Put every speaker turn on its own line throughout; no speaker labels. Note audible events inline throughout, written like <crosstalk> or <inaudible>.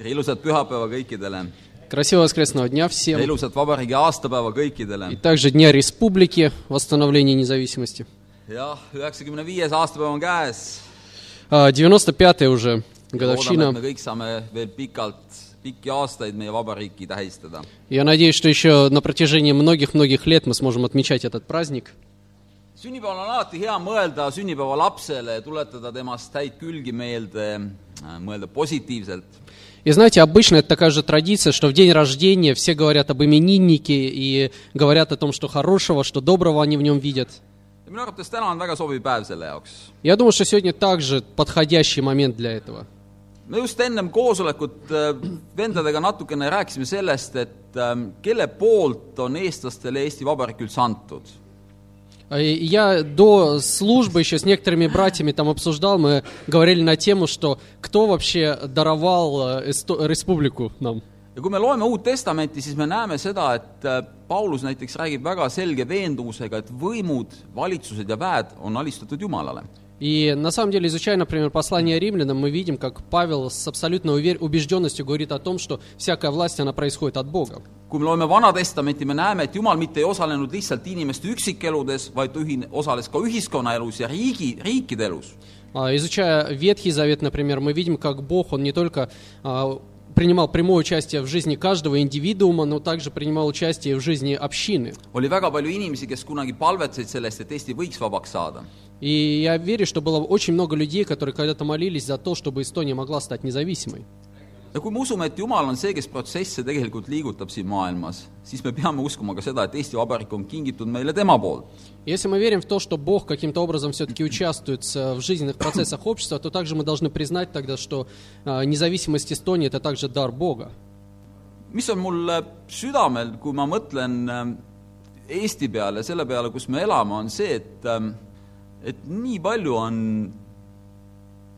ja ilusat pühapäeva kõikidele
Красивого воскресного дня
ja
всем.
ilusat vabariigi aastapäeva kõikidele
И также Дня Республики, Восстановления Независимости.
jah , üheksakümne viies aastapäev on käes .
А, 95-я уже
loodame , et me
годовщина.
kõik saame veel pikalt , pikki aastaid meie vabariiki tähistada .
Я надеюсь, что еще на протяжении многих-многих лет мы сможем отмечать этот праздник.
sünnipäeval on alati hea mõelda sünnipäeva lapsele , tuletada temast häid külgi meelde , mõelda positiivselt .
И знаете, обычно это такая же традиция, что в день рождения все говорят об имениннике и говорят о том, что хорошего, что доброго они в нем видят.
ja minu arvates täna on väga sobiv päev selle jaoks .
Я думаю, что сегодня также подходящий момент для этого.
me just ennem koosolekut äh, vendadega natukene rääkisime sellest , et äh, kelle poolt on eestlastele Eesti Vabariik üldse antud
А, и Я до службы еще с некоторыми братьями там обсуждал, мы говорили на тему, что кто вообще даровал э, эсто- республику нам.
ja kui me loeme Uut Testamenti , siis me näeme seda , et äh, Paulus näiteks räägib väga selge veendumusega , et võimud , valitsused ja väed on alistatud Jumalale .
И на самом деле, изучая, например, послание римлянам, мы видим, как Павел с абсолютной увер- убежденностью говорит о том, что всякая власть, она происходит от Бога.
kui me loeme Vana Testamenti , me näeme , et Jumal mitte ei osalenud lihtsalt inimeste üksikeludes , vaid ühine , osales ka ühiskonnaelus ja riigi , riikide elus .
А, Изучая Ветхий Завет, например, мы видим, как Бог, Он не только а, принимал прямое участие в жизни каждого индивидуума, но также принимал участие и в жизни общины.
oli väga palju inimesi , kes kunagi palvetasid selle eest , et Eesti võiks vabaks saada .
И я верю, что было очень много людей, которые когда-то молились за то, чтобы Эстония могла стать независимой.
ja kui me usume , et Jumal on see , kes protsesse tegelikult liigutab siin maailmas , siis me peame uskuma ka seda , et Eesti Vabariik on kingitud meile tema poolt .
Если мы верим в то, что Бог каким-то образом все-таки участвует э, в жизненных процессах общества, то также мы должны признать тогда, что э, независимость Эстонии – это также дар Бога.
mis on mul südamel , kui ma mõtlen ähm, Eesti peale , selle peale , kus me elame , on see , et ähm, et nii palju on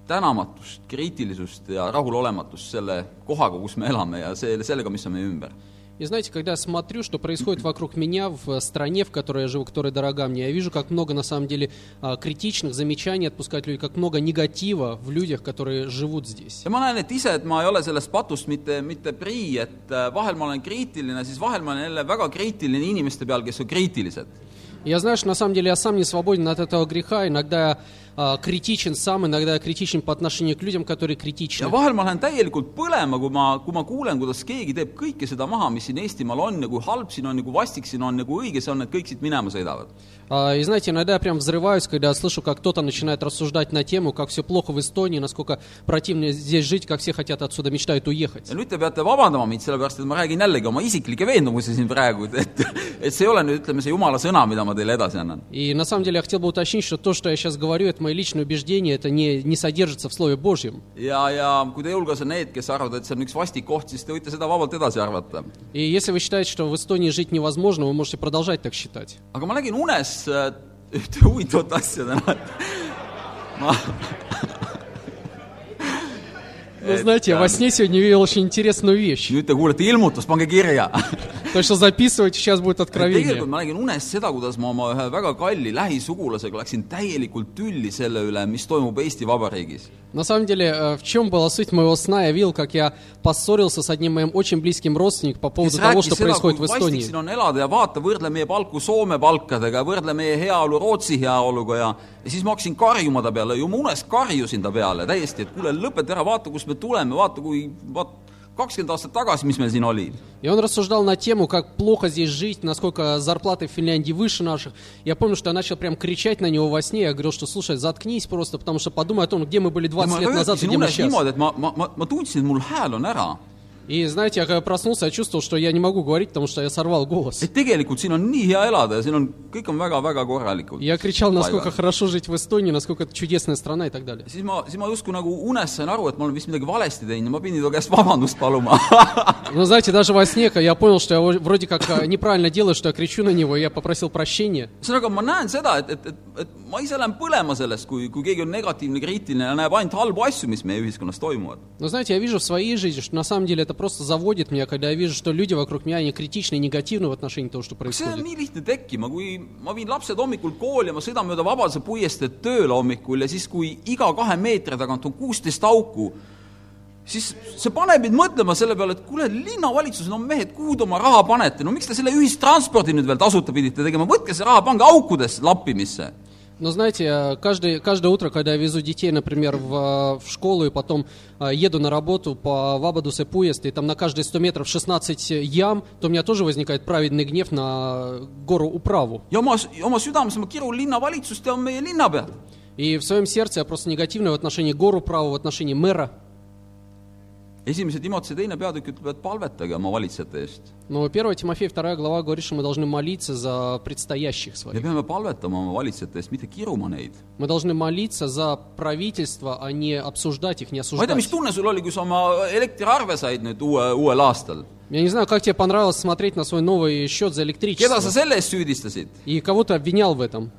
tänamatust , kriitilisust ja rahulolematust selle kohaga , kus me elame ja selle , sellega , mis on meie ümber .
И знаете, когда я смотрю, что происходит вокруг меня в э, стране, в которой я живу, которая дорога мне, я вижу, как много на самом деле а, критичных замечаний отпускают люди, как много негатива в людях, которые живут здесь.
ja ma näen , et ise , et ma ei ole sellest patust mitte , mitte prii , et äh, vahel ma olen kriitiline , siis vahel ma olen jälle väga kriitiline inimeste peal , kes on kriitilised .
Я знаю, что на самом деле я сам не свободен от этого греха, иногда я а, критичен сам, иногда я критичен по отношению к людям, которые критичны.
ja vahel ma lähen täielikult põlema , kui ma , kui ma kuulen , kuidas keegi teeb kõike seda maha , mis siin Eestimaal on ja kui halb siin on ja kui vastik siin on ja kui õige see on , et kõik siit minema sõidavad .
А, И знаете, иногда я прям взрываюсь, когда я слышу, как кто-то начинает рассуждать на тему, как все плохо в Эстонии, насколько противно здесь жить, как все хотят отсюда, мечтают уехать.
ja nüüd te peate vabandama mind , sellepärast et ma räägin jällegi oma isiklikke veendumusi siin praegu , et et see ei ole nüüd , ütleme , see jumala sõna , mida ma teile edasi annan .
И на самом деле я хотел бы уточнить, что то, что я сейчас говорю, это мои личные убеждения, это не, не содержится в Слове Божьем.
ja , ja kui teie hulgas on need , kes arvavad , et see on üks vastik koht , siis te võite seda vabalt edasi arvata .
И если вы считаете, что в Эстонии жить невозможно, вы можете продолжать так считать.
aga ma nägin unes äh, ühte huvitavat asja täna , et ma
Вы знаете, я во сне сегодня видел очень интересную вещь.
nüüd te kuulete ilmutust , pange kirja
Так что записывайте, сейчас будет
tegelikult
откровение.
ma nägin unes seda , kuidas ma oma ühe väga kalli lähisugulasega läksin täielikult tülli selle üle , mis toimub Eesti Vabariigis .
На самом деле, э, в чем была суть моего сна? Я видел, как я поссорился с одним моим очень близким родственником по поводу
kes
того,
rääkis
что
seda , kui
происходит в
vastik
Эстонии.
siin on elada ja vaata , võrdle meie palku Soome palkadega , võrdle meie heaolu Rootsi heaoluga ja ja siis ma hakkasin karjuma ta peale , ju ma unes karjusin ta peale täiesti , et kuule , lõpeta ära , vaata , kust me tuleme , vaata , kui vaat- , kakskümmend aastat tagasi , mis meil siin oli .
И он рассуждал на тему, как плохо здесь жить, насколько зарплаты в Финляндии выше наших. Я помню, что я начал прям кричать на него во сне. Я говорил, что слушай, заткнись просто, потому что подумай о том, где мы были
ja
20
ma
лет назад и
röökisin
где мы
unes
сейчас.
niimoodi , et ma , ma , ma , ma tundsin , et mul hääl on ära .
И знаете, я когда проснулся, я чувствовал, что я не могу говорить, потому что я сорвал голос.
et tegelikult siin on nii hea elada ja siin on , kõik on väga-väga korralikult .
Я кричал, насколько хорошо жить в Эстонии, насколько это чудесная страна и так далее.
siis ma , siis ma justkui nagu unes sain aru , et ma olen vist midagi valesti teinud ja ma pidin ta käest vabandust paluma . <laughs>
Но знаете, даже во сне я понял, что я во- вроде как э, неправильно делаю, что я кричу на него, и я попросил прощения.
ühesõnaga , ma näen seda , et , et , et , et ma ise lähen põlema sellest , kui , kui keegi on negatiivne , kriitiline ja näeb ainult halbu asju , mis meie ühiskonnas toimuvad .
Но знаете, я вижу в своей жизни, что на самом деле это просто заводит меня, когда я вижу, что люди вокруг меня, они критичны и негативны в отношении того, что
kas see on
происходит.
nii lihtne tekkima , kui ma viin lapsed hommikul kooli ja ma sõidan mööda Vabaduse puiesteed tööle hommikul ja siis , kui iga kahe meetri tagant on kuusteist auku , siis see paneb mind mõtlema selle peale , et kuule , linnavalitsus , no mehed , kuhu te oma raha panete , no miks te selle ühistranspordi nüüd veel tasuta pidite tegema , võtke see raha , pange aukudesse lappimisse .
Но знаете, э, каждый, каждое утро, когда я везу детей, например, в, э, в школу и потом э, еду на работу по Вабаду Сепуест, и там на каждые 100 метров 16 ям, то у меня тоже возникает праведный гнев на гору Управу.
ja oma , oma südames ma kirun linnavalitsust ja meie linnapead .
И в своем сердце я просто негативный в отношении гору Управу, в отношении мэра.
esimese Timotuse teine peatükk ütleb , et palvetage oma valitsejate eest .
Но 1 Тимофея 2 глава говорит, что мы должны молиться за предстоящих
me
своих.
peame palvetama oma valitsejate eest , mitte kiruma neid .
Мы должны молиться за правительство, а не обсуждать их, не
ma ei tea , mis
осуждать.
tunne sul oli , kui sa oma elektriarve said nüüd uue , uuel aastal ?
Я не знаю, как тебе понравилось смотреть на свой новый счет за
keda sa
электричество.
selle eest süüdistasid ?
И кого ты обвинял в этом?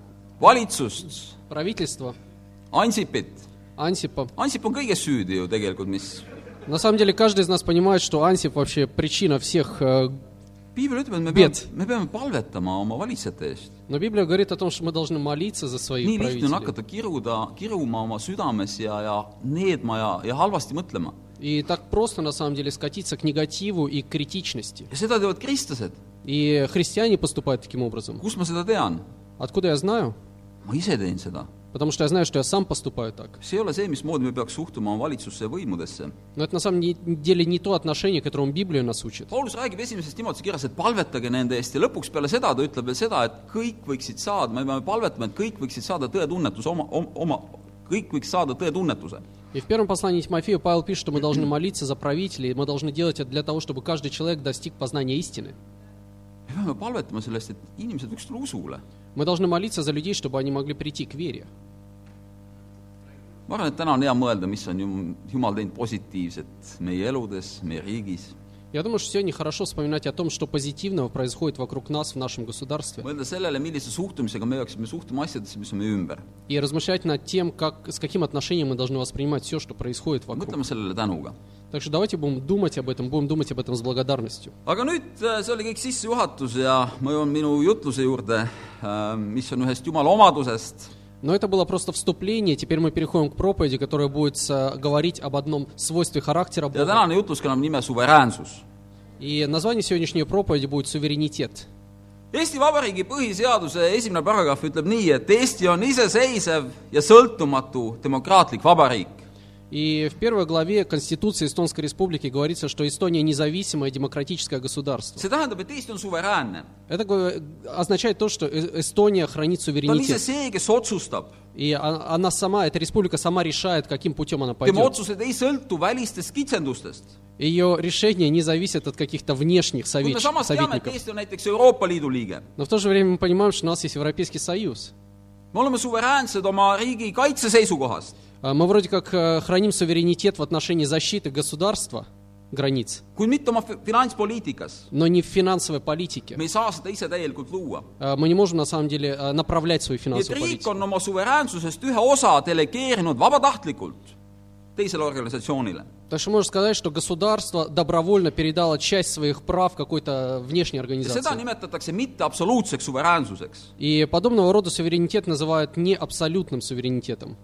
valitsust ,
Правительство?
Ansipit ?
Ансипа.
Ansip on kõiges süüdi ju tegelikult , mis
На самом деле, каждый из нас понимает, что Ансип вообще причина всех... э,
piibel ütleb , et me
Piet.
peame , me peame palvetama oma valitsejate eest .
Но Библия говорит о том, что мы должны молиться за
nii
своих
lihtne on
правителей.
hakata kiruda , kiruma oma südames ja , ja needma ja , ja halvasti mõtlema .
И так просто, на самом деле, скатиться к негативу и к критичности.
ja seda teevad kristlased .
И христиане поступают таким образом.
kust ma seda tean ?
Откуда я знаю?
ma ise teen seda .
Потому что я знаю, что я сам поступаю так.
see ei ole see , mismoodi me peaks suhtuma oma valitsusse ja võimudesse .
Но это на самом не- деле не то отношение, которому Библия нас учит.
Paulus räägib esimeses Timotuse kirjas , et palvetage nende eest ja lõpuks peale seda ta ütleb veel seda , et kõik võiksid saada , me peame palvetama , et kõik võiksid saada tõetunnetuse oma , oma , kõik võiks saada tõetunnetuse .
И в первом послании Тимофею Павел пишет, что мы должны молиться за правителей, и мы должны делать это для того, чтобы каждый человек достиг познания истины.
me peame palvetama selle eest , et inimesed võiks tulla usule .
Мы должны молиться за людей, чтобы они могли прийти к вере.
ma arvan , et täna on hea mõelda , mis on jum- Jumal teinud positiivset meie eludes , meie riigis .
Я думаю, что сегодня хорошо вспоминать о том, что позитивного происходит вокруг нас в нашем государстве,
mõelda sellele , millise suhtumisega me peaksime suhtuma asjadesse , mis on meie ümber .
и размышлять над тем, как, с каким отношением мы должны воспринимать все, что происходит вокруг.
mõtleme sellele tänuga .
Так что давайте будем думать об этом, будем думать об этом с благодарностью.
aga nüüd , see oli kõik sissejuhatus ja ma jõuan minu jutluse juurde , mis on ühest Jumala omadusest
Но это было просто вступление, теперь мы переходим к проповеди, которая будет э, говорить об одном свойстве характера
ja
Бога.
tänane jutlus kannab nime suveräänsus .
И название сегодняшней проповеди будет «Суверенитет».
Eesti Vabariigi põhiseaduse esimene paragrahv ütleb nii , et Eesti on iseseisev ja sõltumatu demokraatlik vabariik .
И в первой главе Конституции Эстонской Республики говорится, что Эстония независимое демократическое государство.
see tähendab , et Eesti on суveräänne .
Это го- означает то, что Э- Эстония хранит
ta on ise
суверенитет.
see , kes otsustab .
И о- она сама, эта республика сама решает, каким путем она
tema
пойдет.
otsused ei sõltu välistest kitsendustest .
Ее решения не зависят от каких-то внешних
kuid me
советч-
samas teame , et
советников.
Eesti on näiteks Euroopa Liidu liige .
Но в то же время мы понимаем, что у нас есть Европейский Союз.
me oleme suveräänsed oma riigi kaitse seisukohast ,
А Мы вроде как э, храним суверенитет в отношении защиты государства, границ,
kuid mitte oma fi- finantspoliitikas .
но не в финансовой политике.
me ei saa seda ise täielikult luua .
А Мы не можем на самом деле э, направлять свою
nii et
финансовую
riik
политику.
on oma suveräänsusest ühe osa delegeerinud vabatahtlikult teisele organisatsioonile
Так что можно сказать, что государство добровольно передало часть своих прав какой-то внешней
ja seda
организации.
nimetatakse mitte absoluutseks suveräänsuseks .
И подобного рода суверенитет называют не абсолютным суверенитетом.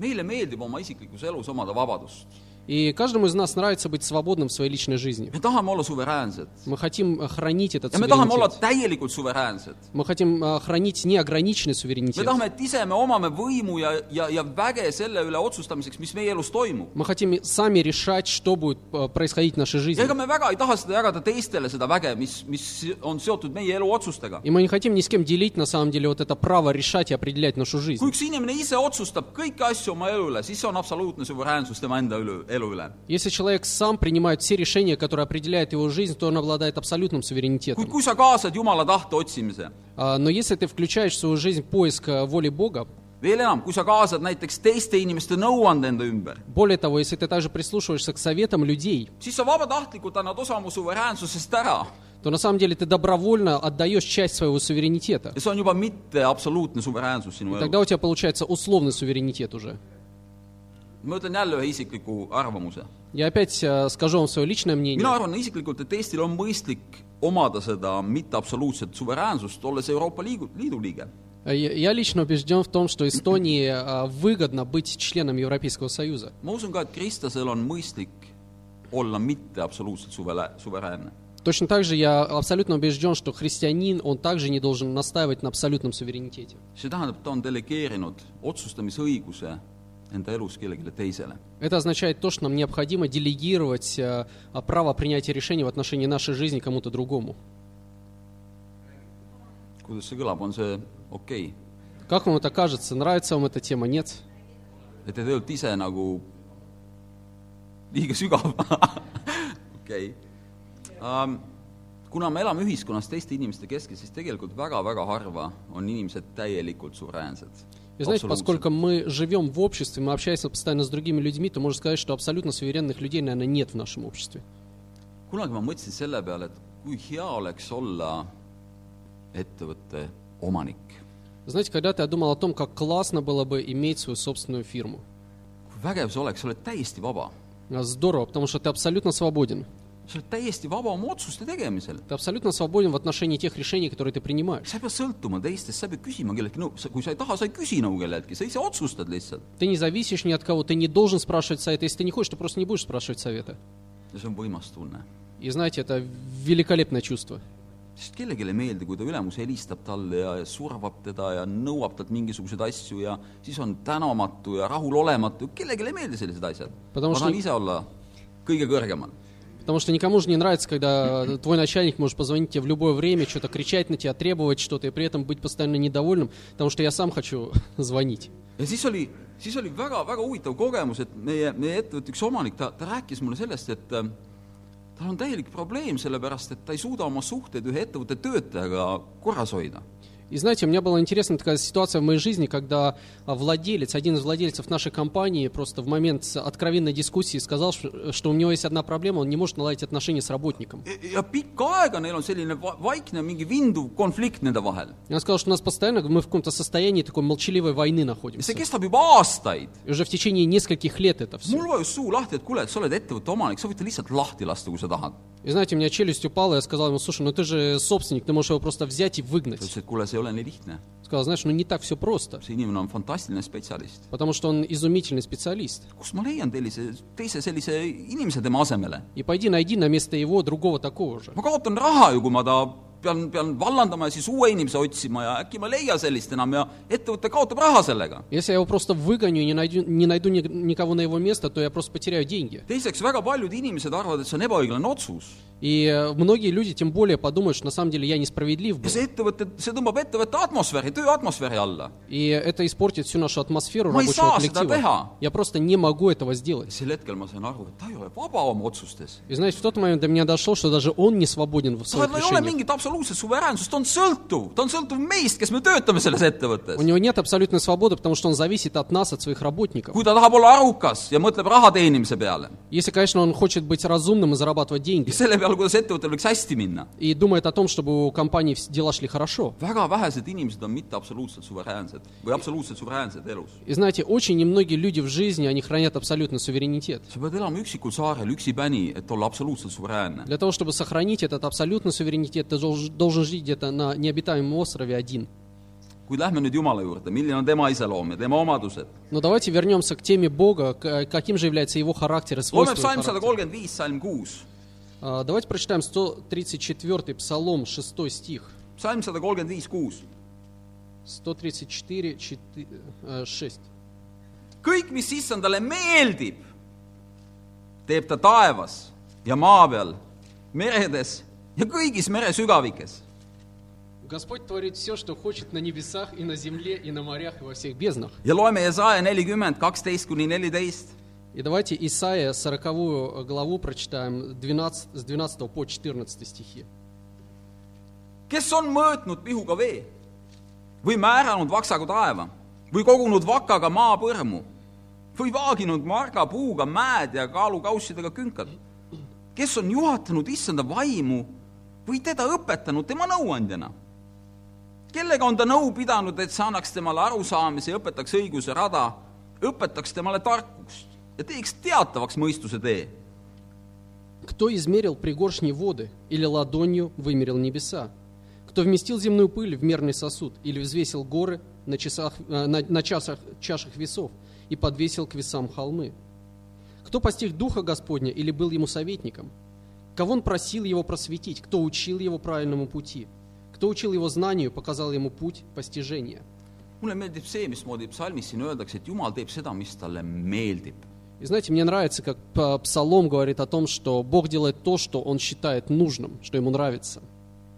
meile meeldib oma isiklikus elus omada vabadust .
И каждому из нас нравится быть свободным в своей личной жизни.
me tahame olla suveräänsed
Мы хотим э, хранить этот
ja me tahame olla
суверенитет.
täielikult suveräänsed .
Мы хотим э, хранить неограниченный
me
суверенитет.
tahame , et ise me omame võimu ja , ja , ja väge selle üle otsustamiseks , mis meie elus toimub .
Мы хотим и сами решать, что будет э, происходить в нашей
ja
жизни.
ega me väga ei taha seda jagada teistele , seda väge , mis , mis on seotud meie elu otsustega .
И мы не хотим ни с кем делить, на самом деле, вот это право решать и определять нашу
kui
жизнь.
üks inimene ise otsustab kõiki asju oma elu üle , siis see on absoluutne suveräänsus tema enda üle , elu üle .
Если человек сам принимает все решения, которые определяют его жизнь, то он обладает абсолютным
kuid
суверенитетом.
kui sa kaasad Jumala tahte otsimise ,
А, Но если ты включаешь в свою жизнь поиск э, воли Бога,
veel enam , kui sa kaasad näiteks teiste inimeste nõuande enda ümber ,
более того, если ты также прислушиваешься к советам людей,
siis sa vabatahtlikult annad osa mu suveräänsusest ära
то на самом деле ты добровольно отдаешь часть своего суверенитета.
ja see on juba mitte absoluutne suveräänsus sinu
Тогда
elus .
у тебя получается условный суверенитет уже.
ma ütlen jälle ühe isikliku arvamuse .
Я опять э, скажу вам свое личное мнение.
mina arvan isiklikult , et Eestil on mõistlik omada seda mitte absoluutset suveräänsust , olles Euroopa Liidu , Liidu liige .
Э, Я я лично убежден в том, что Эстонии э, выгодно быть членом Европейского Союза.
ma usun ka , et kristlasel on mõistlik olla mitte absoluutselt suvele- , suveräänne .
Точно так же я абсолютно убежден, что христианин, он также не должен настаивать на абсолютном суверенитете.
see tähendab , ta on delegeerinud otsustamisõiguse enda elus kellelegi teisele .
Это означает то, что нам необходимо делегировать э, а, право принятия решений в отношении нашей жизни кому-то другому.
kuidas see kõlab , on see okei okay. ?
Как вам это кажется? Нравится вам эта тема? Нет?
et te tegelikult ise nagu liiga sügav . <laughs> okei . kuna me elame ühiskonnas teiste inimeste keskel , siis tegelikult väga-väga harva on inimesed täielikult suveräänsed .
И знаете, поскольку мы живем в обществе, мы общаемся постоянно с другими людьми, то можно сказать, что абсолютно суверенных людей, наверное, нет в нашем обществе.
kunagi ma mõtlesin selle peale , et kui hea oleks olla ettevõtte omanik .
Знаете, когда-то я думал о том, как классно было бы иметь свою собственную фирму.
kui vägev see oleks , sa oled täiesti vaba .
А, Здорово, потому что ты абсолютно свободен.
sa oled täiesti vaba oma otsuste tegemisel .
Ты абсолютно свободен в отношении тех решений, которые ты принимаешь.
sa ei pea sõltuma teistest , sa ei pea küsima kelleltki nõu , kui sa ei taha , sa ei küsi nõu kelleltki , sa ise otsustad lihtsalt .
Ты не зависишь ни от кого, ты не должен спрашивать совета. Если ты не хочешь, ты просто не будешь спрашивать совета.
ja see on võimas tunne
И знаете, это великолепное чувство.
sest kellelegi ei meeldi , kui ta ülemus helistab talle ja, ja survab teda ja nõuab talt mingisuguseid asju ja siis on tänamatu ja rahulolematu , kellelegi ei meeldi sellised asjad . ma
Потому что-
tahan ise olla kõige kõrgemal .
Потому что никому же не нравится, когда э, твой начальник может позвонить тебе в любое время, что-то кричать на тебя, требовать что-то, и при этом быть постоянно недовольным, потому что я сам хочу <laughs> звонить.
ja siis oli , siis oli väga-väga huvitav kogemus , et meie , meie ettevõtte üks omanik , ta , ta rääkis mulle sellest , et ähm, tal on täielik probleem , sellepärast et ta ei suuda oma suhteid ühe ettevõtte töötajaga korras hoida
И знаете, у меня была интересная такая ситуация в моей жизни, когда а, владелец, один из владельцев нашей компании просто в момент с- откровенной дискуссии сказал, ш- что у него есть одна проблема, он не может наладить отношения с работником.
Ja- ja pikka aega neil on selline va- vaikne , mingi vinduv konflikt nende vahel .
И он сказал, что у нас постоянно, мы в каком-то состоянии такой молчаливой войны
ja see
находимся.
kestab juba aastaid .
И уже в течение нескольких лет это все.
mul vajus suu lahti , et kuule , et sa oled ettevõtte omanik , sa võid ta lihtsalt lahti lasta , kui sa tahad .
И знаете, у меня челюсть упала, я сказал ему, слушай, ну ты же собственник, ты можешь его просто взять и
ta
выгнать.
ütles , et kuule , see ei ole nii lihtne .
Сказал, знаешь, ну не так все просто,
see inimene on fantastiline spetsialist .
потому что он изумительный специалист.
kust ma leian sellise , teise sellise inimese tema asemele ?
И пойди найди на место его другого такого же.
ma kaotan raha ju , kui ma ta pean , pean vallandama ja siis uue inimese otsima ja äkki ma ei leia sellist enam ja ettevõte kaotab raha sellega .
Если я его просто выгоню и не найду, не найду ни- никого на его место, то я просто потеряю деньги.
teiseks , väga paljud inimesed arvavad , et see on ebaõiglane otsus .
И э, многие люди тем более подумают, что на самом деле я несправедлив был.
ja see ettevõte , see tõmbab ettevõtte atmosfääri , töö atmosfääri alla .
И это испортит всю нашу атмосферу
Мы
рабочего
сам сюда
коллектива.
бега.
Я просто не могу этого сделать.
sel hetkel ma sain aru , et ta ei ole vaba oma otsustes .
И знаете, в тот момент до меня дошло, что даже он не свободен в
tal ei
своих
ole
решениях.
mingit absoluutset suveräänsust , ta on sõltuv , ta on sõltuv meist , kes me töötame selles ettevõttes
У . него нет абсолютной свободы, потому что он зависит от нас, от своих работников.
kui ta tahab olla arukas ja mõtleb raha teenimise peale
Если, конечно, он хочет быть разумным и зарабатывать деньги,
ja selle peale , kuidas ettevõttel võiks hästi minna .
и думает о том, чтобы у компании вс- дела шли хорошо.
väga vähesed inimesed on mitte absoluutselt suveräänsed või absoluutselt suveräänsed elus .
И знаете, очень немногие люди в жизни, они хранят абсолютный суверенитет.
sa pead elama üksikul saarel üksipäni , et olla absoluutselt suveräänne .
Для того, чтобы сохранить этот абсолютный суверенитет, ты долж- должен жить где-то на необитаемом острове один.
kuid lähme nüüd Jumala juurde , milline on tema iseloom ja tema omadused .
Но давайте вернемся к теме Бога, к- э, каким же является его характер и свойства.
loeme
его
psalm sada
характера.
kolmkümmend viis , salm kuus .
А, Давайте прочитаем 134 псалом, 6 стих.
psalm sada kolmkümmend viis , kuus
134, 6.
kõik , mis issandale meeldib , teeb ta taevas ja maa peal , meredes ja kõigis meresügavikes .
Господь творит все, что хочет на небесах и на земле, и на морях, и во всех безднах.
ja loeme Jesaja nelikümmend , kaksteist kuni neliteist .
И давайте Исаия 40 главу прочитаем 12, с 12 по 14 стихи.
kes on mõõtnud pihuga vee või määranud vaksaga taeva või kogunud vakaga maapõrmu või vaaginud marga puuga mäed ja kaalukaussidega künkad , kes on juhatanud issanda vaimu või teda õpetanud tema nõuandjana ? kellega on ta nõu pidanud , et see annaks temale arusaamise ja õpetaks õiguse rada , õpetaks temale tarkust ja teeks teatavaks mõistuse tee ?
Кто измерил пригоршни воды или ладонью вымерил небеса? Кто вместил земную пыль в мерный сосуд или взвесил горы на, часах, э, на, на часах- чашах весов и подвесил к весам холмы? Кто постиг Духа Господня или был ему советником? Кого он просил его просветить? Кто учил его правильному пути? Кто учил его знанию, показал ему путь постижения?
mulle meeldib see , mismoodi psalmis siin öeldakse , et Jumal teeb seda , mis talle meeldib .
И знаете, мне нравится, как п- Псалом говорит о том, что Бог делает то, что Он считает нужным, что Ему нравится.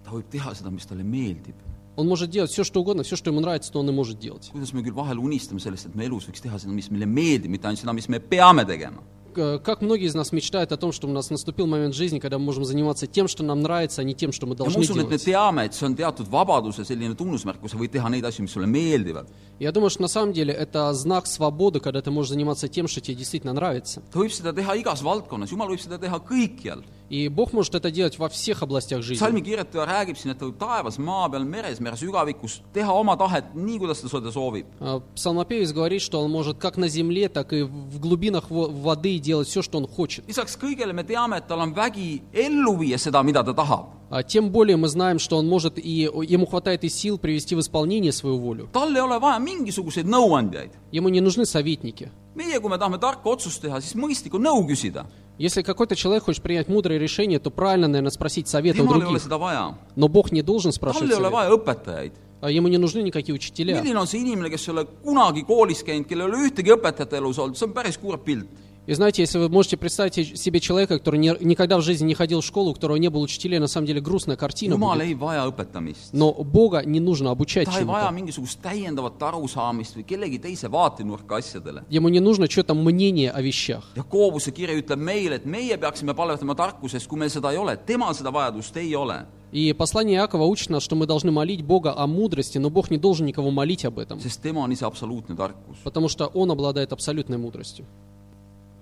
ta võib teha seda , mis talle meeldib .
Он может делать все, что угодно, все, что Ему нравится, то Он и может делать.
kuidas me küll vahel unistame sellest , et me elus võiks teha seda , mis meile meeldib , mitte ainult seda , mis me peame tegema .
К- Э, Как многие из нас мечтают о том, что у нас наступил момент в жизни, когда мы можем заниматься тем, что нам нравится, а не тем, что мы
ja ma
должны
usun , et me
делать.
teame , et see on teatud vabaduse selline tunnusmärk , kui sa võid teha neid asju , mis sulle meeldivad .
Я думаю, что на самом деле это знак свободы, когда ты можешь заниматься тем, что тебе действительно нравится.
ta võib seda teha igas valdkonnas , Jumal võib seda teha kõikjal .
И Бог может это делать во всех областях жизни.
salmi kirjutaja räägib siin , et ta võib taevas , maa peal , meres , mere sügavikus teha oma tahet nii , kuidas ta seda soovib .
А, Псалмопевец говорит, что он может как на земле, так и в глубинах во- воды делать все, что он хочет.
lisaks kõigele me teame , et tal on vägi ellu viia seda , mida ta tahab .
А Тем более мы знаем, что он может и о, ему хватает и сил привести в исполнение свою волю.
tal ei ole vaja mingisuguseid nõuandjaid .
Ему не нужны советники.
meie , kui me tahame tarka otsust teha , siis mõistlik on nõu küsida .
Если какой-то человек хочет принять мудрое решение, то правильно, наверное, спросить совета у
temal ei ole
других.
seda vaja .
Но Бог не должен
tal
спрашивать
ei ole
совета.
vaja õpetajaid .
А Ему не нужны никакие учителя.
milline on see inimene , kes ei ole kunagi koolis käinud , kellel ei ole ühtegi õpetajat elus olnud , see on päris kurb pilt .
И знаете, если вы можете представить себе человека, который не- никогда в жизни не ходил в школу, у которого не было учителей, на самом деле грустная картина
jumal
будет.
ei vaja õpetamist .
Но Бога не нужно обучать
ta ei vaja
чему-то.
mingisugust täiendavat arusaamist või kellegi teise vaatenurka asjadele .
Ему не нужно что-то мнение о вещах.
Jakoobuse kiri ütleb meile , et meie peaksime palvetama tarkusest , kui meil seda ei ole , temal seda vajadust ei ole .
И послание Иакова учит нас, что мы должны молить Бога о мудрости, но Бог не должен никого молить об этом,
sest tema on ise absoluutne tarkus .
потому что Он обладает абсолютной мудростью.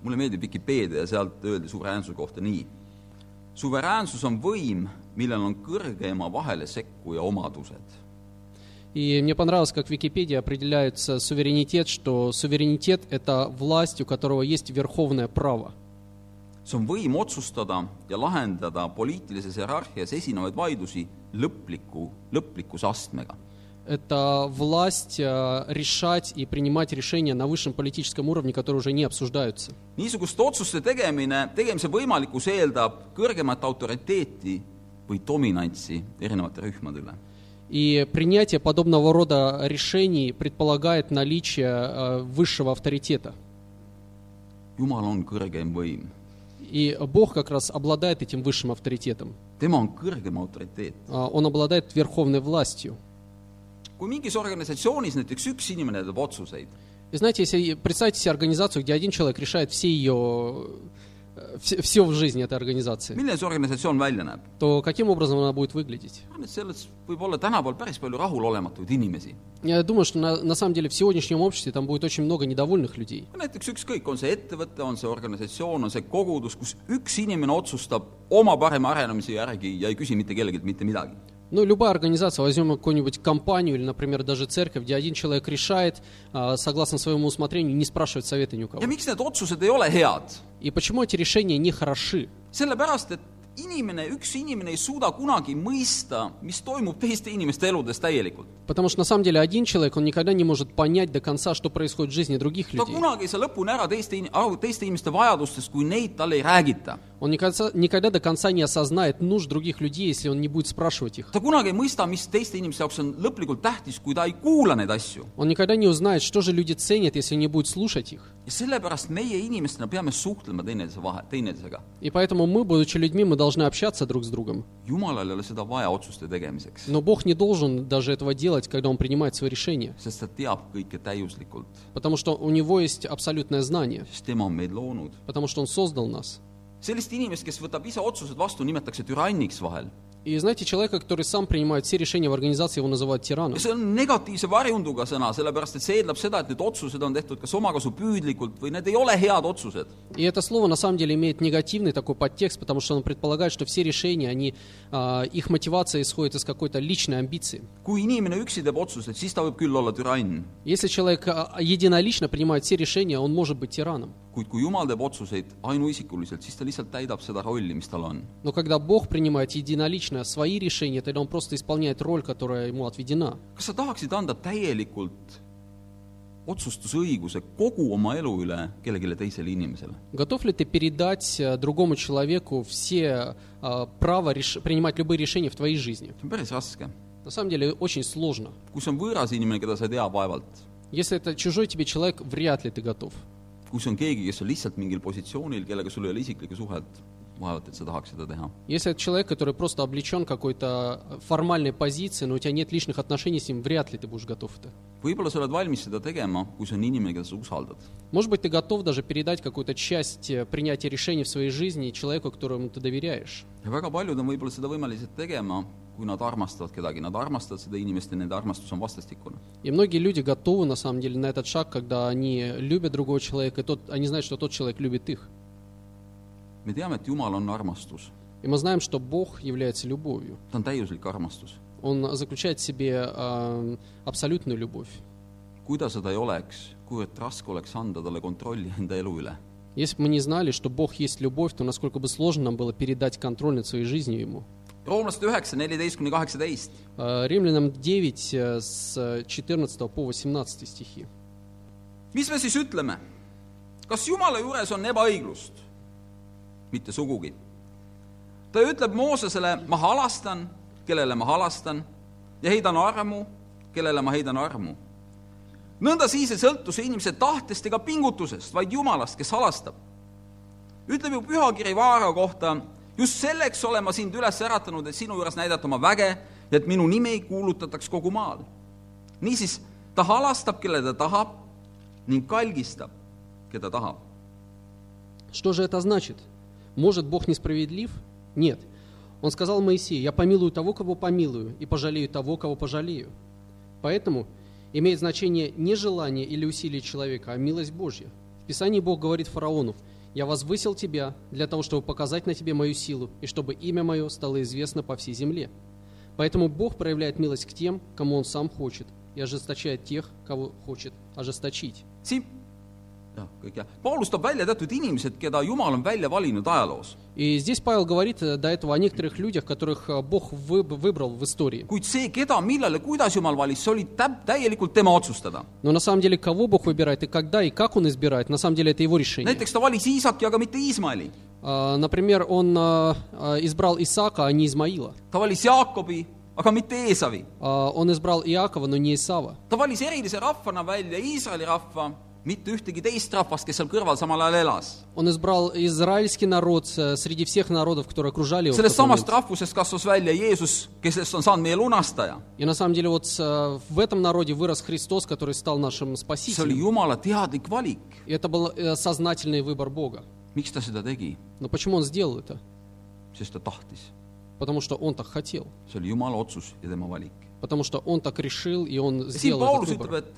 mulle meeldib Vikipeedia ja sealt öeldi suveräänsuse kohta nii . suveräänsus on võim , millel on kõrgeima vahelesekkuja omadused .
И мне понравилось, как в Википедии определяется суверенитет, что суверенитет – это власть, у которого есть верховное право.
see on võim otsustada ja lahendada poliitilises hierarhias esinevaid vaidlusi lõpliku , lõplikkuse astmega .
Это власть э, решать и принимать решения на высшем политическом уровне, которые уже не обсуждаются.
niisuguste otsuste tegemine , tegemise võimalikkus eeldab kõrgemat autoriteeti või dominantsi erinevate rühmade üle
И принятие подобного рода решений предполагает наличие э, высшего авторитета.
jumal on kõrgeim võim ,
И Бог как раз обладает этим высшим авторитетом.
tema on kõrgem autoriteet .
А, Он обладает верховной властью.
kui mingis organisatsioonis näiteks üks inimene teeb otsuseid ,
И знаете, если представьте себе организацию, где один человек решает все ее... Все, в жизни этой организации,
milline see organisatsioon välja näeb ?
то каким образом она будет выглядеть?
ma arvan , et selles võib olla tänapäeval päris palju rahulolematuid inimesi .
Я думаю, что на, на самом деле в сегодняшнем обществе там будет очень много недовольных людей.
näiteks ükskõik , on see ettevõte , on see organisatsioon , on see kogudus , kus üks inimene otsustab oma parema arenemise järgi ja ei küsi mitte kellelgi mitte midagi .
Ну, любая организация, возьмем какую-нибудь компанию или, например, даже церковь, где один человек решает, а, согласно своему усмотрению, не спрашивать совета ни у кого.
ja miks need otsused ei ole head ?
И почему эти решения не хороши?
sellepärast , et inimene , üks inimene ei suuda kunagi mõista , mis toimub teiste inimeste eludes täielikult .
Потому что на самом деле один человек, он никогда не может понять до конца, что происходит в жизни других
ta
людей.
kunagi ei saa lõpuni ära teiste , aru teiste inimeste vajadustest , kui neid talle ei räägita .
Он никогда, никогда до конца не осознает нужд других людей, если он не будет spрашивать их.
ta kunagi ei mõista , mis teiste inimeste jaoks on lõplikult tähtis , kui ta ei kuula neid asju .
Он никогда не узнает, что же люди ценят, если не будет слушать их.
ja sellepärast meie inimestena peame suhtlema teineteise vahe , teineteisega .
И поэтому мы, будучи людьми, мы должны общаться друг с другом.
jumalal ei ole seda vaja otsuste tegemiseks ,
Но Бог не должен даже этого делать, когда Он принимает свои решения.
sest ta teab kõike täiuslikult ,
Потому что у Него есть абсолютное знание.
sest tema on meid loonud .
Потому что Он создал нас.
sellist inimest , kes võtab ise otsused vastu , nimetatakse türanniks vahel .
И знаете, человека, который сам принимает все решения в организации, его называют
ja
тираном.
see on negatiivse varjunduga sõna , sellepärast et see eeldab seda , et need otsused on tehtud kas omakasupüüdlikult või need ei ole head otsused .
И это слово на самом деле имеет негативный такой подтекст, потому что оно предполагает, что все решения, они, а, их мотивация исходит из какой-то личной амбиции.
kui inimene üksi teeb otsuseid , siis ta võib küll olla türann ,
Если человек а, единолично принимает все решения, он может быть тираном.
kuid kui Jumal teeb otsuseid ainuisikuliselt , siis ta lihtsalt täidab seda rolli , mis tal on
Но когда Бог принимает единолично свои решения, тогда он просто исполняет роль, которая ему отведена.
kas sa tahaksid anda täielikult otsustusõiguse kogu oma elu üle kellelegi teisele inimesele .
Готов ли ты передать э, другому человеку все э, право реш- принимать любые решения в твоей жизни?
see on päris raske .
На самом деле очень сложно.
kui see on võõras inimene , keda sa ei tea vaevalt ,
Если это чужой тебе человек, вряд ли ты готов.
kui see on keegi , kes on lihtsalt mingil positsioonil , kellega sul ei ole isiklikku suhet , vaevalt et sa tahaks seda teha .
Если это человек, который просто облечен какой-то а, формальной позицией, но у тебя нет личных отношений с ним, вряд ли ты будешь готов это.
võib-olla sa oled valmis seda tegema , kui see on inimene , keda sa usaldad .
Может быть, ты готов даже передать какую-то часть э, принятия решений в своей жизни человеку, которому ты доверяешь.
ja väga paljud on võib-olla seda võimelised tegema , kui nad armastavad kedagi , nad armastavad seda inimest ja nende armastus on vastastikune .
И многие люди готовы, на самом деле, на этот шаг, когда они любят другого человека, и тот, они знают, что тот человек любит их.
me teame , et Jumal on armastus ,
И мы знаем, что Бог является любовью.
ta on täiuslik armastus .
Он заключает в себе э, абсолютную любовь.
kui ta seda ei oleks , kuivõrd raske oleks anda talle kontrolli enda elu üle .
Если бы мы не знали, что Бог есть любовь, то насколько бы сложно нам было передать контроль над своей жизнью Ему.
roomlaste üheksa , neliteist kuni kaheksateist .
Э, Римлянам 9, э, с э, 14 по 18 стихи.
mis me siis ütleme ? kas Jumala juures on ebaõiglust ? mitte sugugi . ta ütleb Moosesele , ma halastan , kellele ma halastan ja heidan armu , kellele ma heidan armu . nõnda siis ei sõltu see inimese tahtest ega pingutusest , vaid Jumalast , kes halastab . ütleb ju pühakiri Vaara kohta , just selleks olen ma sind üles äratanud , et sinu juures näidata oma väge ja et minu nimi kuulutataks kogu maal niisiis , ta halastab , kelle ta tahab ning kalgistab , keda tahab .
Что же это значит? Может Бог несправедлив? Нет. Он сказал Моисею, я помилую того, кого помилую, и пожалею того, кого пожалею. Поэтому имеет значение не желание или усилие человека, а милость Божья. В Писании Бог говорит фараону, я возвысил тебя для того, чтобы показать на тебе мою силу, и чтобы имя мое стало известно по всей земле. Поэтому Бог проявляет милость к тем, кому Он сам хочет, и ожесточает тех, кого хочет ожесточить.
siin , jah , kõik jah , Paulus toob välja teatud inimesed , keda Jumal on välja valinud ajaloos ,
И здесь Павел говорит э, до этого о некоторых людях, которых э, Бог выб- выбрал в истории.
kuid see , keda , millal ja kuidas Jumal valis , see oli täp- , täielikult tema otsustada .
Но на самом деле, кого Бог выбирает и когда и как Он избирает, на самом деле это Его решение.
näiteks ta valis Iisaki , aga mitte Iismaeli .
А, Например, Он а, а, избрал Исаака, а не Измаила.
ta valis Jaakobi , aga mitte Eesavi .
А, Он избрал Иакова, но не Исава.
ta valis erilise rahvana välja Iisraeli rahva , mitte ühtegi teist rahvast , kes seal kõrval samal ajal elas .
Он избрал израильский народ э, среди всех народов, которые окружали его. в
sellest
тот момент.
samast rahvusest kasvas välja Jeesus , kes on saanud meie lunastaja
И на самом деле вот э, в этом народе вырос Христос, который стал нашим
see oli
спасителем.
Jumala teadlik valik ,
И это был э, сознательный выбор Бога.
miks ta seda tegi ,
Но почему Он сделал это?
sest ta tahtis .
Потому что Он так хотел.
see oli Jumala otsus ja tema valik .
Потому что он так решил, и он
siin
сделал
Paulus
этот
ütleb ,
выбор.
et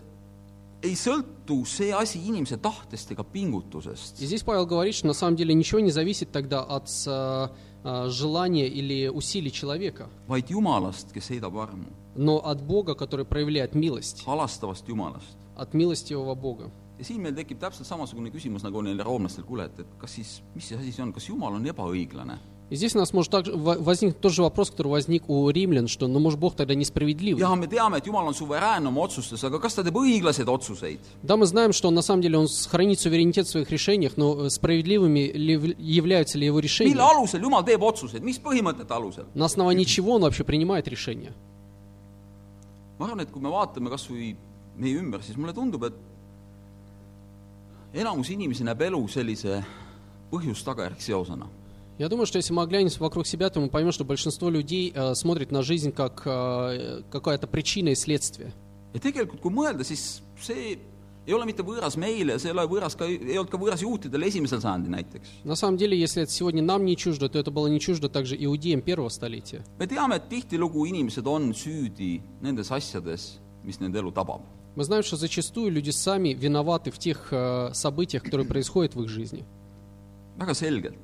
ei sõltu see asi inimese tahtest ega pingutusest
И , здесь Павел говорит, что на самом деле ничего не зависит тогда от э, э, желания или усилий человека,
vaid Jumalast , kes heidab armu ,
но от Бога, который проявляет милость,
halastavast Jumalast .
от милостивого Бога.
ja siin meil tekib täpselt samasugune küsimus , nagu neil roomlastel , kuule , et , et kas siis , mis see asi siis on , kas Jumal on ebaõiglane ?
И здесь у нас может также во- возникнуть тот же вопрос, который возник у римлян, что, ну, может, Бог тогда несправедлив.
jah , me teame , et Jumal on suveräänne oma otsustes , aga kas ta teeb õiglaseid otsuseid ?
Да, мы знаем, что он, на самом деле он с- хранит суверенитет в своих решениях, но э, справедливыми ли в- являются ли его
mille
решения?
alusel Jumal teeb otsuseid , mis põhimõtete alusel ?
На основании чего он вообще принимает решения?
ma arvan , et kui me vaatame kas või meie ümber , siis mulle tundub , et enamus inimesi näeb elu sellise põhjus-tagajärg seosena .
Я думаю, что если мы оглянемся вокруг себя, то мы поймем, что большинство людей э, смотрит на жизнь как э, какая-то причина и следствие.
ja tegelikult , kui mõelda , siis see ei ole mitte võõras meile , see ei ole võõras ka , ei olnud ka võõras juutidele esimesel sajandil näiteks .
На самом деле, если это сегодня нам не чуждо, то это было не чуждо также иудеям первого столетия.
me teame , et tihtilugu inimesed on süüdi nendes asjades , mis nende elu tabab .
Мы знаем, что зачастую люди сами виноваты в тех э, событиях, которые происходят в их жизни.
väga selgelt ,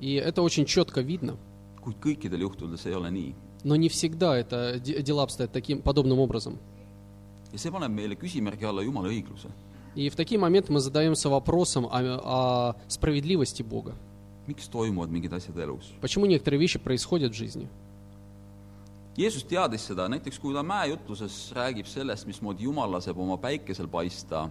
И это очень четко видно.
kuid kõikidel juhtudel see ei ole nii .
Но не всегда это де- дела обстоят таким подобным образом.
ja see paneb meile küsimärgi alla Jumala õigluse .
И в такие моменты мы задаемся вопросом о- о справедливости Бога.
miks toimuvad mingid asjad elus ?
Почему некоторые вещи происходят в жизни?
Jeesus teadis seda, näiteks kui ta mäejutluses räägib sellest, mismoodi Jumal laseb oma päikesel paista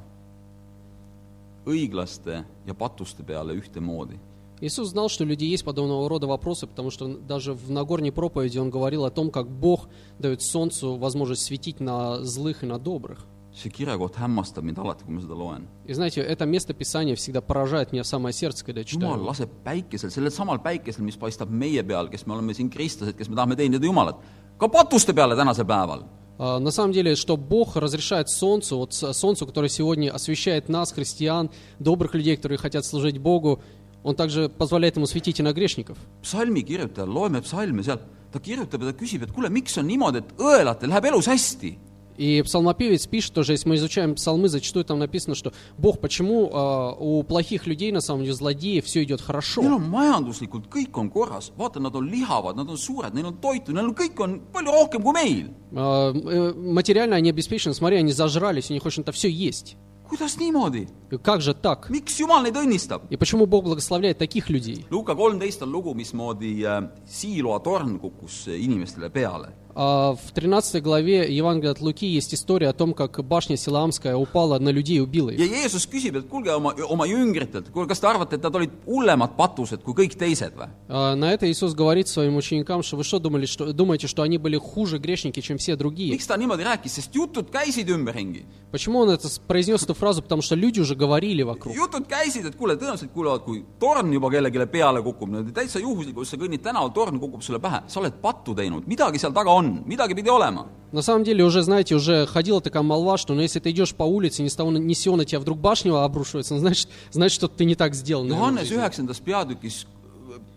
õiglaste ja patuste peale ühtemoodi
Иисус знал, что у людей есть подобного рода вопросы, потому что даже в Нагорной проповеди он говорил о том, как Бог дает солнцу возможность светить на злых и на добрых.
see kirekoht hämmastab mind alati , kui ma seda loen .
И знаете, это место Писания всегда поражает меня в самое сердце, когда я
jumal
читаю.
laseb päikesel , sellel samal päikesel , mis paistab meie peal , kes me oleme siin kristlased , kes me tahame teenida Jumalat , ka patuste peale tänasel päeval .
А, На самом деле, что Бог разрешает солнцу, вот с- солнцу, которое сегодня освещает нас, христиан, добрых людей, которые хотят служить Богу, он также позволяет ему светить и на грешников.
psalmi kirjutaja , loeme psalme seal , ta kirjutab ja ta küsib , et kuule , miks on niimoodi , et õelatel läheb elus hästi ?
И псалмопевец пишет тоже, если мы изучаем псалмы, зачастую там написано, что Бог, почему а, у плохих людей, на самом деле, злодеев, все идет хорошо.
Neil on majanduslikult kõik on korras , vaata , nad on lihavad , nad on suured , neil on toitu , neil on kõik on palju rohkem kui meil .
А, э, Материально они обеспечены, смотри, они зажрались, у них, в общем-то, все есть.
kuidas niimoodi ?
И Как же так?
miks Jumal neid õnnistab ?
И почему Бог благословляет таких людей?
Luuka kolmteist on lugu , mismoodi äh, Siiloa torn kukkus äh, inimestele peale
А, В 13 главе Евангелия от Луки есть история о том, как башня Силаамская упала на людей и убила их.
ja Jeesus küsib , et kuulge oma , oma jüngritelt , kuule , kas te arvate , et nad olid hullemad patused kui kõik teised või ?
А, На это Иисус говорит своим ученикам, что вы что думали, что думаете, что они были хуже грешники, чем все другие?
miks ta niimoodi rääkis , sest jutud käisid ümberringi .
Почему он это с- произнес эту фразу? Потому что люди уже говорили вокруг.
jutud käisid , et kuule , tõenäoliselt kuulevad , kui torn juba kellelegi peale kukub , niimoodi täitsa juhuslikult , sa kõnnid tänaval , torn kukub sulle pähe , sa oled pattu teinud , midagi seal taga on , midagi pidi olema .
На самом деле, уже, знаете, уже ходила такая молва, что ну, если ты идешь по улице, ни с того ни с сего на тебя вдруг башня обрушивается, ну, значит, значит, что ты не так сделал. наверное, в
Johannes
жизни.
üheksandas peatükis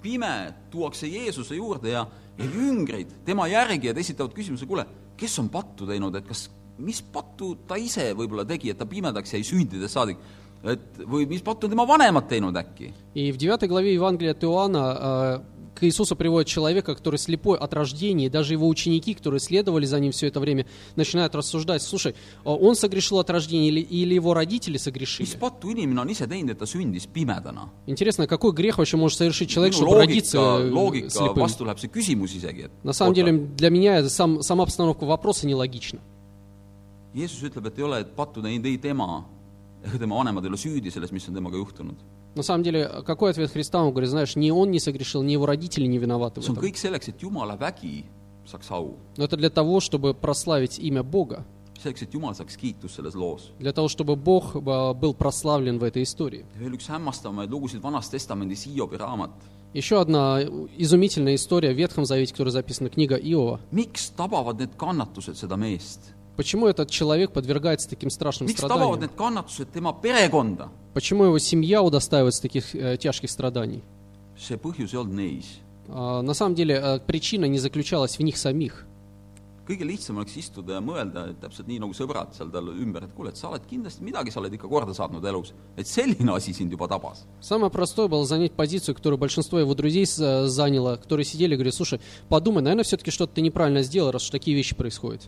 pime tuuakse Jeesuse juurde ja , ja jüngrid tema järgijad esitavad küsimuse , kuule , kes on pattu teinud , et kas , mis pattu ta ise võib-olla tegi , et ta pimedaks jäi sündides saadik , et või mis pattu on tema vanemad teinud äkki ?
И в 9 главе Евангелия от Иоанна э, к Иисусу приводит человека, который слепой от рождения, и даже его ученики, которые следовали за ним все это время, начинают рассуждать, слушай, а он согрешил от рождения или, или его родители согрешили?
mis pattu inimene on ise teinud , et ta sündis pimedana ?
Интересно, какой грех вообще может совершить
Ну,
человек, чтобы родиться
loogika ,
э,
loogika
слепым?
vastu läheb see küsimus isegi , et
На самом деле, для меня это сам, сама обстановка вопроса нелогична.
Jeesus ütleb , et ei ole , et pattu teinud ei tema <laughs> ega tema vanemad ei ole süüdi selles , mis on temaga juhtunud .
На самом деле, э, какой ответ Христа? Он говорит, знаешь, ни он не согрешил, ни его родители не виноваты в
see on
этом.
kõik selleks , et Jumala vägi saaks au
Но это для того, чтобы прославить имя Бога,
selleks , et Jumal saaks kiitust selles loos .
для того, чтобы Бог э, был прославлен в этой истории.
veel üks hämmastavaid lugusid Vanas Testamendis , Hiobi raamat .
Еще одна э, изумительная история в Ветхом Завете, которая записана книга Иова.
miks tabavad need kannatused seda meest ?
Почему этот человек подвергается таким страшным
miks tabavad
страданиям?
need kannatused tema perekonda ?
Почему его семья удостаивается таких э, тяжких страданий?
see põhjus ei olnud neis .
А, на самом деле э, причина не заключалась в них самих.
kõige lihtsam oleks istuda ja mõelda , et täpselt nii , nagu sõbrad seal tal ümber , et kuule , et sa oled kindlasti midagi , sa oled ikka korda saatnud elus , et selline asi sind juba tabas .
Самое простое было занять позицию, которую большинство его друзей э, заняло, которые сидели и говорили, слушай, подумай, наверное, все-таки что-то ты неправильно сделал, раз уж такие вещи происходят.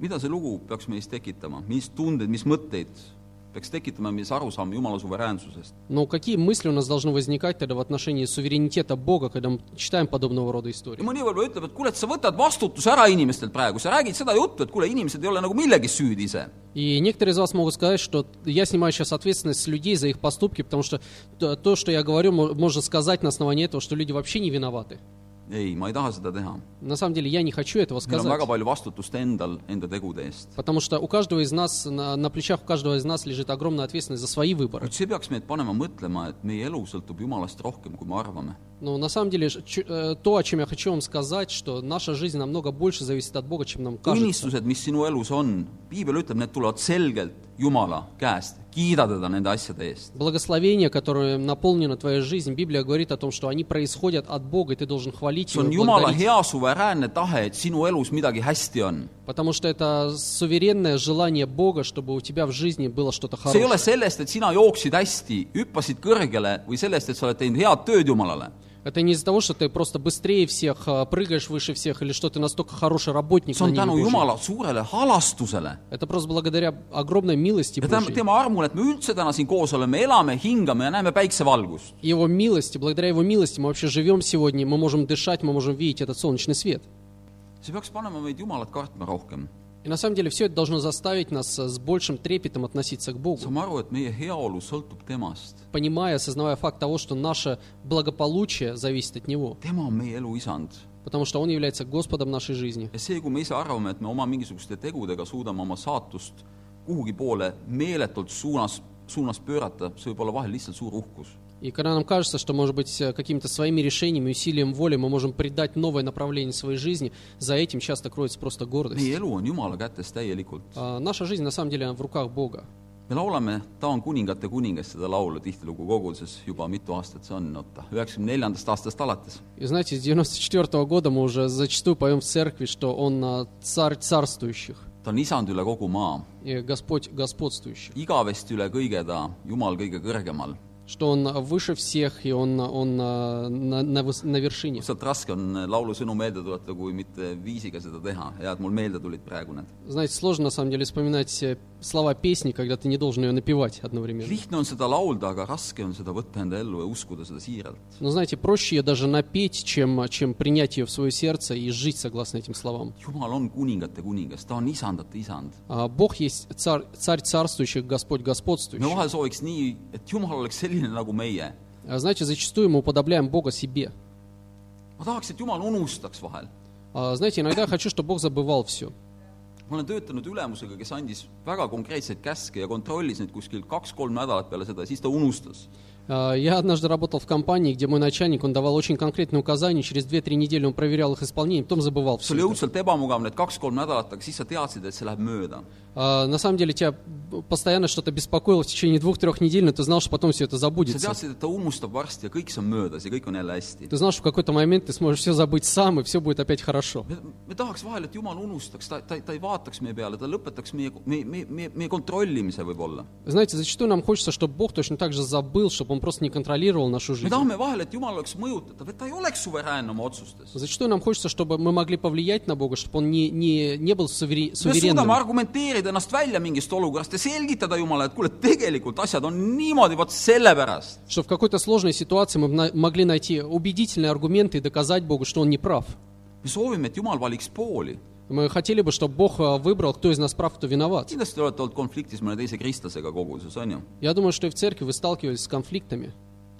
mida see lugu peaks meis tekitama , mis tunded , mis mõtteid peaks tekitama , mis arusaam Jumala suveräänsusest ?
Но какие мысли у нас должны возникать тогда в отношении суверенитета Бога, когда мы читаем подобного рода истории?
ja mõni võib-olla ütleb , et kuule , et sa võtad vastutuse ära inimestelt praegu , sa räägid seda juttu , et kuule , inimesed ei ole nagu milleski süüdi ise .
И некоторые из вас могут сказать, что я снимаю сейчас ответственность с людей за их поступки, потому что то, то, что я говорю, мо- можно сказать на основании этого, что люди вообще не виноваты.
ei , ma ei taha seda teha .
На самом деле я не хочу этого
meil on väga
сказать.
palju vastutust endal , enda tegude eest .
Потому что у каждого из нас, на, на плечах у каждого из нас лежит огромная ответственность за свои выборы.
kuid see peaks meid panema mõtlema , et meie elu sõltub Jumalast rohkem , kui me arvame .
Но на самом деле ж- чу- э, то, о чем я хочу вам сказать, что наша жизнь намного больше зависит от Бога, чем нам кажется.
õnnistused , mis sinu elus on , piibel ütleb , need tulevad selgelt Jumala käest , kiida teda nende asjade eest .
Благословение, которое наполнено твоя жизнь, Библия говорит о том, что они происходят от Бога, и ты должен хвалить
see
Его
on
и
Jumala
благодарить.
hea suveräänne tahe , et sinu elus midagi hästi on .
Потому что это суверенное желание Бога, чтобы у тебя в жизни было что-то
see ei
хорошее.
ole sellest , et sina jooksid hästi , hüppasid kõrgele või sellest , et sa oled teinud head tööd Jumalale
Это не из-за того, что ты просто быстрее всех, а, прыгаешь выше всех, или что ты настолько хороший работник
see
на
on
небе
tänu
Божьем.
Jumala suurele halastusele
Это просто благодаря огромной милости
ja tänu
Божьей.
tema armule , et me üldse täna siin koos oleme , elame , hingame ja näeme päiksevalgust .
Его милости, благодаря Его милости мы вообще живем сегодня, мы можем дышать, мы можем видеть этот солнечный свет.
see peaks panema meid Jumalat kartma rohkem .
И на самом деле все это должно заставить нас э, с большим трепетом относиться к Богу,
saame aru , et meie heaolu sõltub temast .
понимая, осознавая факт того, что наше благополучие зависит от Него,
tema on meie elu isand .
потому что Он является Господом нашей жизни.
ja see , kui me ise arvame , et me oma mingisuguste tegudega suudame oma saatust kuhugi poole meeletult suunas , suunas pöörata , see võib olla vahel lihtsalt suur uhkus .
И когда нам кажется, что, может быть, э, какими-то своими решениями, усилием воли мы можем придать новое направление своей жизни, за этим часто кроется просто гордость.
meie elu on Jumala kätes täielikult .
А, Наша жизнь, на самом деле, она в руках Бога.
me laulame Ta on kuningate kuningas seda laulu tihtilugu koguduses juba mitu aastat , see on , oota , üheksakümne neljandast aastast alates .
И знаете, с 94 года мы уже зачастую поем в церкви, что Он а, царь царствующих,
ta on isand üle kogu maa ,
и Господь господствующих,
igavesti üle kõige ta , Jumal kõige kõrgemal .
что Он выше всех, и Он, он а, на, на выс- на вершине.
lihtsalt raske on laulusõnu meelde tuletada , kui mitte viisiga seda teha , hea , et mul meelde tulid praegu need .
Знаете, сложно на самом деле вспоминать э, слова песни, когда ты не должен ее напевать одновременно.
lihtne on seda laulda , aga raske on seda võtta enda ellu ja uskuda seda siiralt .
Но знаете, проще ее даже напеть, чем, а, чем принять ее в свое сердце и жить согласно этим словам.
jumal on kuningate kuningas , ta on isandate isand .
А Бог есть царь, царь царствующих, Господь
me
господствующих.
vahel sooviks nii , et Jumal oleks selline nagu meie .
А Знаете, зачастую мы уподобляем Бога себе.
ma tahaks , et Jumal unustaks vahel .
А Знаете, иногда я хочу, чтобы Бог забывал все.
ma olen töötanud ülemusega , kes andis väga konkreetseid käske ja kontrollis neid kuskil kaks-kolm nädalat peale seda ja siis ta unustas .
А, Я однажды работал в компании, где мой начальник, он давал очень конкретные указания, через 2-3 недели он проверял их исполнение, потом забывал
see oli
все.
õudselt ebamugav need kaks-kolm nädalat , aga siis sa teadsid , et see läheb mööda .
А, На самом деле тебя постоянно что-то беспокоило в течение 2-3 недель, но ты знал, что потом все это
sa
забудется.
teadsid , et ta unustab varsti ja kõik see on möödas ja kõik on jälle hästi .
Ты знал, что в какой-то момент ты сможешь все забыть сам, и все будет опять хорошо.
me , me tahaks vahel , et Jumal unustaks , ta , ta , ta ei vaataks meie peale , ta lõpetaks meie , meie , meie , meie , meie kontrollimise võib-olla .
Знаете, зачастую нам хочется, чтобы Бог точно так же забыл, чтобы Он просто не контролировал нашу
me
жизнь.
tahame vahel , et Jumal oleks mõjutatav , et ta ei oleks suveräänne oma otsustes .
Зачастую нам хочется, чтобы мы могли повлиять на Бога, чтобы Он не, не, не был сувери-
me suudame
суверенным.
argumenteerida ennast välja mingist olukorrast ja selgitada Jumala , et kuule , tegelikult asjad on niimoodi , vot sellepärast .
Что в какой-то сложной ситуации мы на- могли найти убедительные аргументы и доказать Богу, что Он не прав.
me soovime , et Jumal valiks pooli .
Мы хотели бы, чтобы Бог э, выбрал, кто из нас прав, кто виноват.
kindlasti olete olnud konfliktis mõne teise kristlasega koguduses , on ju ?
Я думаю, что и в церкви вы сталкивались с конфликтами.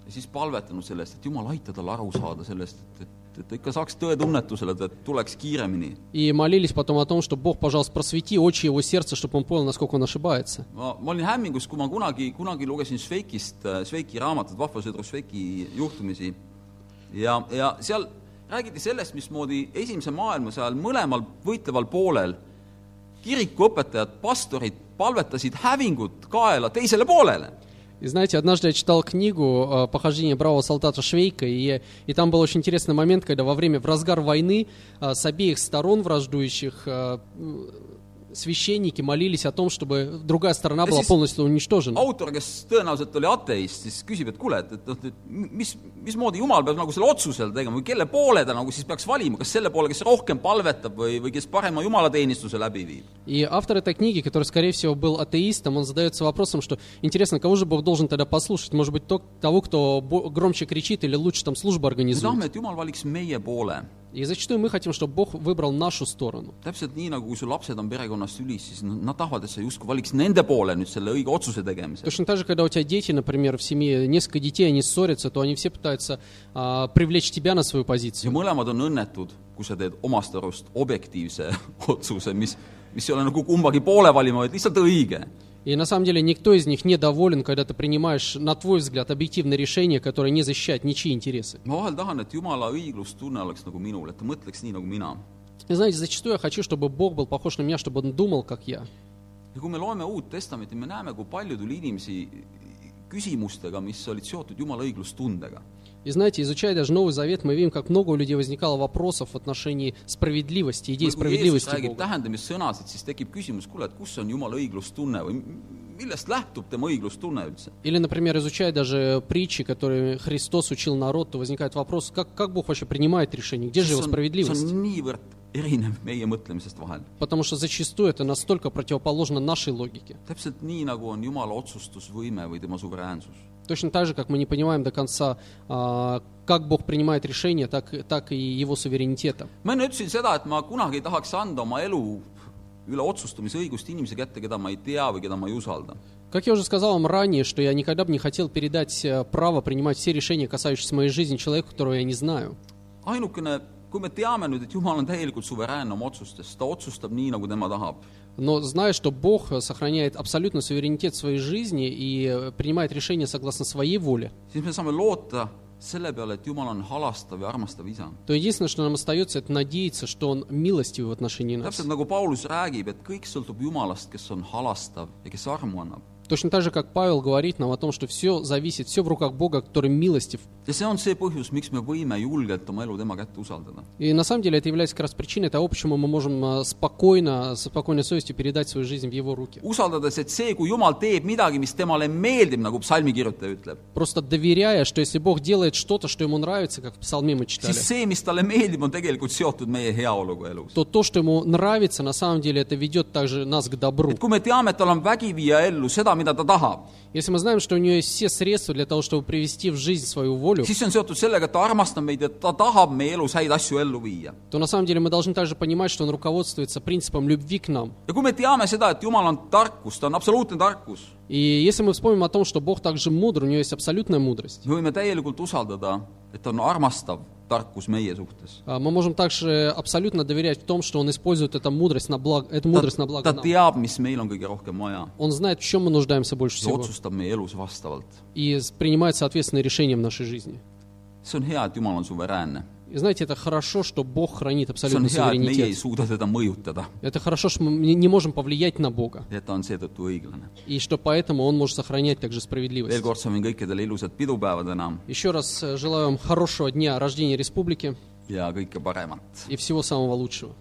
ja siis palvetanud selle eest , et Jumal , aita tal aru saada sellest , et , et , et ta ikka saaks tõetunnetusele , et tuleks kiiremini
И молились потом о том, что Бог, пожалуйста, просвети очи его сердца, чтобы он понял, насколько он ошибается.
ma , ma olin hämmingus , kui ma kunagi , kunagi lugesin Švejkist , Švejki raamatut , Vahva sõdur Švejki juhtumisi ja , ja seal räägiti sellest , mismoodi Esimese maailmasõja ajal mõlemal võitleval poolel kirikuõpetajad , pastorid palvetasid hävingut kaela teisele poolele .
И знаете, однажды я читал книгу э, «Похождение бравого солдата Швейка», и, и там был очень интересный момент, когда во время, в разгар войны, э, с обеих сторон враждующих э, м, священники молились о том, чтобы другая сторона была
Здесь-
полностью уничтожена.
autor , kes tõenäoliselt oli ateist , siis küsib , et kuule , et , et noh , et mis , mismoodi Jumal peab nagu selle otsuse tegema või kelle poole ta nagu siis peaks valima , kas selle poole , kes rohkem palvetab või , või kes parema jumalateenistuse läbi viib ?
И автор этой книги, который, скорее всего, был атеистом, он задается вопросом, что интересно, кого же Бог должен тогда послушать? Может быть, то- того, кто бо- громче кричит или лучше там службу
me
организует?
tahame , et Jumal valiks meie poole
И зачастую мы хотим, чтобы Бог выбрал нашу сторону.
täpselt nii , nagu kui su lapsed on perekonnas tülis , siis nad nad tahavad , et sa justkui valiks nende poole nüüd selle õige otsuse tegemisel .
Точно так же, когда у тебя дети, например, в семье, несколько детей, они ссорятся, то они все пытаются а, привлечь тебя на свою
ja
позицию.
mõlemad on õnnetud , kui sa teed omast arust objektiivse <laughs> otsuse , mis , mis ei ole nagu kumbagi poole valima , vaid lihtsalt õige .
И на самом деле никто из них не доволен, когда ты принимаешь, на твой взгляд, объективное решение, которое не защищает ничьи интересы.
ma vahel tahan , et Jumala õiglustunne oleks nagu minul , et ta mõtleks nii , nagu mina .
И знаете, зачастую я хочу, чтобы Бог был похож на меня, чтобы он думал, как я.
ja kui me loeme Uut Testamenti , me näeme , kui palju tuli inimesi küsimustega , mis olid seotud Jumala õiglustundega .
И знаете, изучая даже Новый Завет, мы видим, как много у людей возникало вопросов в отношении справедливости, идеи
kui kui Jeesus
справедливости
räägib
Бога.
tähendamissõnasid , siis tekib küsimus , kuule , et kus on Jumala õiglustunne või millest lähtub tema õiglustunne üldse ?
Или, например, изучая даже притчи, которые Христос учил народ, то возникает вопрос, как, как Бог вообще принимает решение, где же
see
его
on, see
справедливость?
on niivõrd erinev meie mõtlemisest vahel .
Потому что зачастую это настолько противоположно нашей логике.
täpselt nii , nagu on Jumala otsustusvõime või tema suveräänsus .
Точно так же, как мы не понимаем до конца, а, как Бог принимает решения, так, так и его суверенитета.
ma enne ütlesin seda , et ma kunagi ei tahaks anda oma elu üle otsustamisõigust inimese kätte , keda ma ei tea või keda ma ei usalda .
Как я уже сказал вам ранее, что я никогда бы не хотел передать э, право принимать все решения, касающиеся моей жизни, человеку, которого я не знаю.
ainukene , kui me teame nüüd , et Jumal on täielikult suveräänne oma otsustes , ta otsustab nii , nagu tema tahab .
Но зная, что Бог э, сохраняет абсолютный суверенитет своей жизни и э, принимает решения согласно своей воле,
siis me saame loota selle peale , et Jumal on halastav ja armastav isa .
то единственное, что нам остается, это надеяться, что Он милостивый в отношении нас.
täpselt nagu Paulus räägib , et kõik sõltub Jumalast , kes on halastav ja kes armu annab .
Точно так же, как Павел говорит нам о том, что все зависит, все в руках Бога, который милостив.
ja see on see põhjus , miks me võime julgelt oma elu tema kätte usaldada .
И на самом деле это является как раз причиной того, почему мы можем э, спокойно, со спокойной совестью передать свою жизнь в Его руки.
usaldades , et see , kui Jumal teeb midagi , mis temale meeldib , nagu psalmikirjutaja ütleb ,
Просто доверяя, что если Бог делает что-то, что Ему нравится, как в псалме мы читали,
siis see , mis talle meeldib , on tegelikult seotud meie heaoluga elus .
то то, что Ему нравится, на самом деле это ведет также нас к добру.
et kui me teame , et tal on vägi viia ellu seda , mida ta tahab ,
Если мы знаем, что у Него есть все средства для того, чтобы привести в жизнь свою волю,
siis see on seotud sellega , et ta armastab meid ja ta tahab meie elus häid asju ellu viia .
то на самом деле мы должны также понимать, что Он руководствуется принципом любви к нам.
ja kui me teame seda , et Jumal on tarkus , ta on absoluutne tarkus ,
И если мы вспомним о том, что Бог также мудр, у Него есть абсолютная мудрость,
me võime täielikult usaldada , et ta on armastav tarkus meie suhtes .
А, Мы можем также абсолютно доверять в том, что он использует эту мудрость на благо, эту мудрость
ta
на благо
ta
нам.
teab , mis meil on kõige rohkem vaja
Он знает, в чем мы нуждаемся больше
ja
всего,
otsustab meie elus vastavalt .
и с- принимает соответственные решения в нашей жизни.
see on hea , et Jumal on suveräänne .
И знаете, это хорошо, что Бог хранит
see on
абсолютный
hea , et meie ei
суверенитет.
suuda teda mõjutada
Это хорошо, что мы не не можем повлиять на Бога,
ja et ta on seetõttu õiglane .
и что поэтому Он может сохранять также
veel
справедливость.
kord soovin kõikidele ilusat pidupäeva täna
Еще раз э, желаю вам хорошего дня рождения республики
ja kõike paremat .
и всего самого лучшего.